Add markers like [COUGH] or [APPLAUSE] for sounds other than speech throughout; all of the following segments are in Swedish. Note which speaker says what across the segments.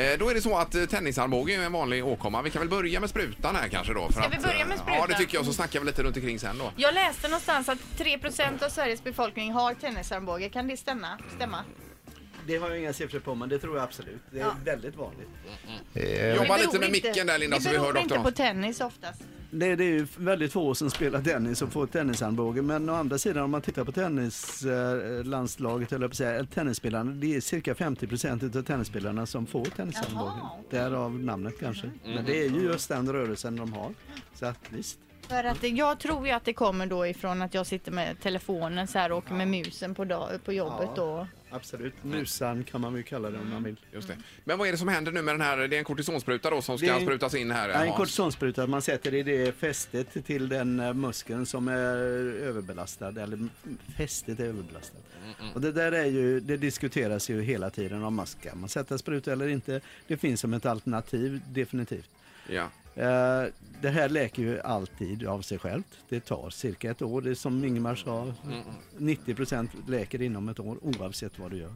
Speaker 1: Eh, Då är det så att eh, tennisarmbåge är ju en vanlig åkomma. Vi kan väl börja med sprutan här kanske då. För
Speaker 2: Ska vi
Speaker 1: att,
Speaker 2: börja
Speaker 1: eh,
Speaker 2: med
Speaker 1: Ja,
Speaker 2: sprutan?
Speaker 1: det tycker jag. Så snackar vi lite runt omkring sen då.
Speaker 2: Jag läste någonstans att 3 av Sveriges befolkning har tennisarmbåge. Kan det stämma? stämma?
Speaker 3: Det har jag inga siffror på men det tror jag absolut. Det är
Speaker 2: Ja.
Speaker 3: väldigt vanligt.
Speaker 1: Jobba
Speaker 2: Det
Speaker 1: lite med
Speaker 2: beror inte-
Speaker 1: micken där Linda så vi hör
Speaker 2: Det beror inte på
Speaker 1: doktorn.
Speaker 2: tennis oftast.
Speaker 3: Det, det är ju väldigt få som spelar tennis och får tennisarmbåge men å andra sidan om man tittar på tennislandslaget eller säga, eller tennisspelarna, det är cirka 50 av tennisspelarna som får tennisarmbågen.
Speaker 2: Jaha. Mm.
Speaker 3: Därav namnet kanske. Men det är ju just den rörelsen de har. Så att visst.
Speaker 2: För att det- jag tror ju att det kommer då ifrån att jag sitter med telefonen så här och åker med musen på, dag, på jobbet
Speaker 3: Ja.
Speaker 2: då.
Speaker 3: Absolut. Musan kan man ju kalla det om man vill.
Speaker 1: Just det. Men vad är det som händer nu med den här? Det är en kortisonspruta då som ska
Speaker 3: Det är-
Speaker 1: sprutas in här.
Speaker 3: Ja, en
Speaker 1: Hans.
Speaker 3: kortisonspruta, man sätter i det fästet till den eh, muskeln som är överbelastad, eller m- fästet är överbelastat. Och det där är ju, det diskuteras ju hela tiden om man ska man sätta spruta eller inte. Det finns som ett alternativ, definitivt.
Speaker 1: Ja.
Speaker 3: Eh, Det här läker ju alltid av sig självt. Det tar cirka ett år, det är som Ingemar sa, 90% läker inom ett år oavsett vad du gör.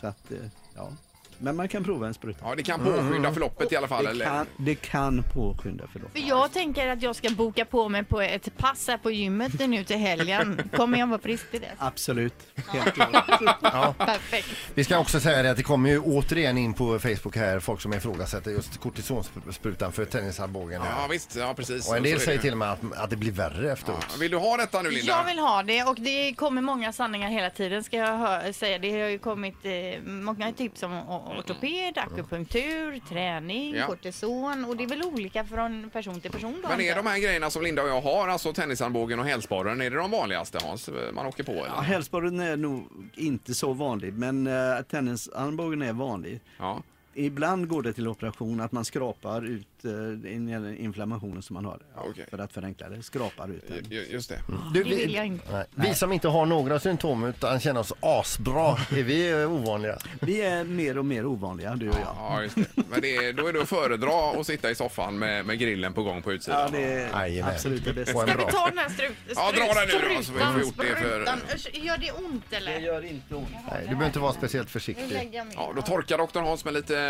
Speaker 3: Så att, eh, ja. Men man kan prova en spruta.
Speaker 1: ja, det kan påskynda förloppet i alla fall.
Speaker 3: Mm. Det
Speaker 1: eller?
Speaker 3: kan, det kan påskynda förloppet.
Speaker 2: För jag tänker att jag ska boka på mig på ett pass här på gymmet nu till helgen. Kommer jag vara frisk
Speaker 1: [LAUGHS]
Speaker 2: till det?
Speaker 3: Absolut, helt klart.
Speaker 2: Perfekt.
Speaker 4: Vi ska också säga det att det kommer ju återigen in på Facebook här folk som ifrågasätter just kortisonsprutan för tennisarmbågen. här.
Speaker 1: Ja, visst. Ja, precis.
Speaker 4: och en
Speaker 1: Så
Speaker 4: del
Speaker 1: är
Speaker 4: säger
Speaker 1: det.
Speaker 4: till och med att, att det blir värre efteråt.
Speaker 1: Ja, Vill du ha detta nu Linda?
Speaker 2: Jag vill ha det och det kommer många sanningar hela tiden ska jag hö- säga. Det har ju kommit eh, många tips om o- ortoped, akupunktur, träning,
Speaker 1: Mm, Ja.
Speaker 2: kortison och det är väl olika från person till person då.
Speaker 1: Men är
Speaker 2: inte?
Speaker 1: de här grejerna som Linda och jag har, alltså tennisarmbågen och hälsporren, är det de vanligaste Hans? Man åker på
Speaker 3: Ja,
Speaker 1: eller?
Speaker 3: Hälsporren är nog inte så vanlig, men uh, tennisarmbågen är vanlig.
Speaker 1: Ja.
Speaker 3: Ibland går det till operation att man skrapar ut eh, in- eller inflammationen som man har. Ja,
Speaker 1: Okej.
Speaker 3: För att förenkla det, skrapar ut den.
Speaker 1: Ju- Just det.
Speaker 4: Du,
Speaker 2: Det vill jag inte.
Speaker 4: Nej. Vi som inte har några symptom utan känner oss asbra, är vi eh, ovanliga?
Speaker 3: Vi är mer och mer ovanliga, du och jag.
Speaker 1: Ja, just det. Men det är, då är det att föredra att sitta i soffan med, med grillen på gång på utsidan.
Speaker 3: Ja, det är
Speaker 4: Jajamän.
Speaker 3: absolut det
Speaker 4: Och en
Speaker 3: bästa.
Speaker 2: Ska vi
Speaker 4: bra.
Speaker 2: ta den här strut- strut-
Speaker 1: Ja, dra den nu då, så vi får gjort det för-
Speaker 2: sprutan? Usch, Gör det ont eller?
Speaker 3: Det gör inte ont.
Speaker 4: Nej, du behöver inte vara speciellt
Speaker 2: Nu
Speaker 4: försiktig.
Speaker 2: lägger jag mig.
Speaker 1: Ja, då torkar doktor Hans med lite eh,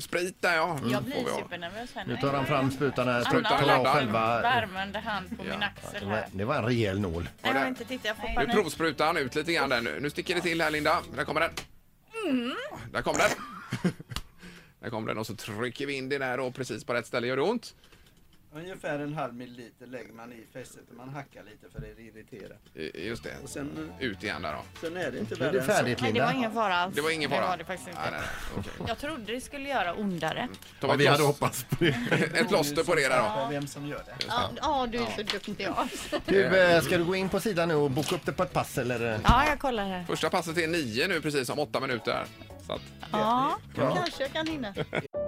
Speaker 1: sprit där ja.
Speaker 2: Jag blir
Speaker 1: Får vi ha.
Speaker 2: supernervös här
Speaker 4: Nu tar han fram sprutan här,
Speaker 1: Sprutan
Speaker 4: tar av
Speaker 1: laddar.
Speaker 4: själva...
Speaker 2: Värmande hand på min axel
Speaker 4: Nej,
Speaker 2: här.
Speaker 4: Det var en rejäl nål.
Speaker 2: Nej, jag vill inte titta, jag får
Speaker 1: Nu
Speaker 2: panik.
Speaker 1: provsprutar han ut lite grann där nu. Nu sticker det till här Linda. Där kommer den.
Speaker 2: Mm.
Speaker 1: Där kom den. [LAUGHS] där kom den och så trycker vi in det där och precis på rätt ställe. Gör det ont?
Speaker 3: Ungefär en halv milliliter lägger man i fästet och man hackar lite för det irriterar.
Speaker 1: Eh, Just det.
Speaker 3: Och sen,
Speaker 1: Ut igen där då.
Speaker 3: sen är det inte
Speaker 4: Nu är
Speaker 3: värre
Speaker 4: det
Speaker 3: än så.
Speaker 4: färdigt
Speaker 2: Nej, det var
Speaker 4: Linda.
Speaker 2: ingen fara alls.
Speaker 1: Det var ingen
Speaker 2: Det
Speaker 1: fara?
Speaker 2: var det faktiskt inte.
Speaker 1: Nej, nej, nej. Okej.
Speaker 2: Jag trodde det skulle göra ondare.
Speaker 1: Ta
Speaker 4: Ja,
Speaker 1: ett
Speaker 4: vi hade
Speaker 1: plås-
Speaker 4: hoppats på det.
Speaker 1: [LAUGHS] Ett plåster på det där då.
Speaker 3: Vem som gör det.
Speaker 2: Ja, ja, du är så duktig. Ja.
Speaker 4: Du, eh, ska du gå in på sidan nu och boka upp det på ett pass eller?
Speaker 2: ja, jag kollar här.
Speaker 1: Första passet är nio nu precis om åtta minuter. Så att,
Speaker 2: Ja, kanske jag kan hinna.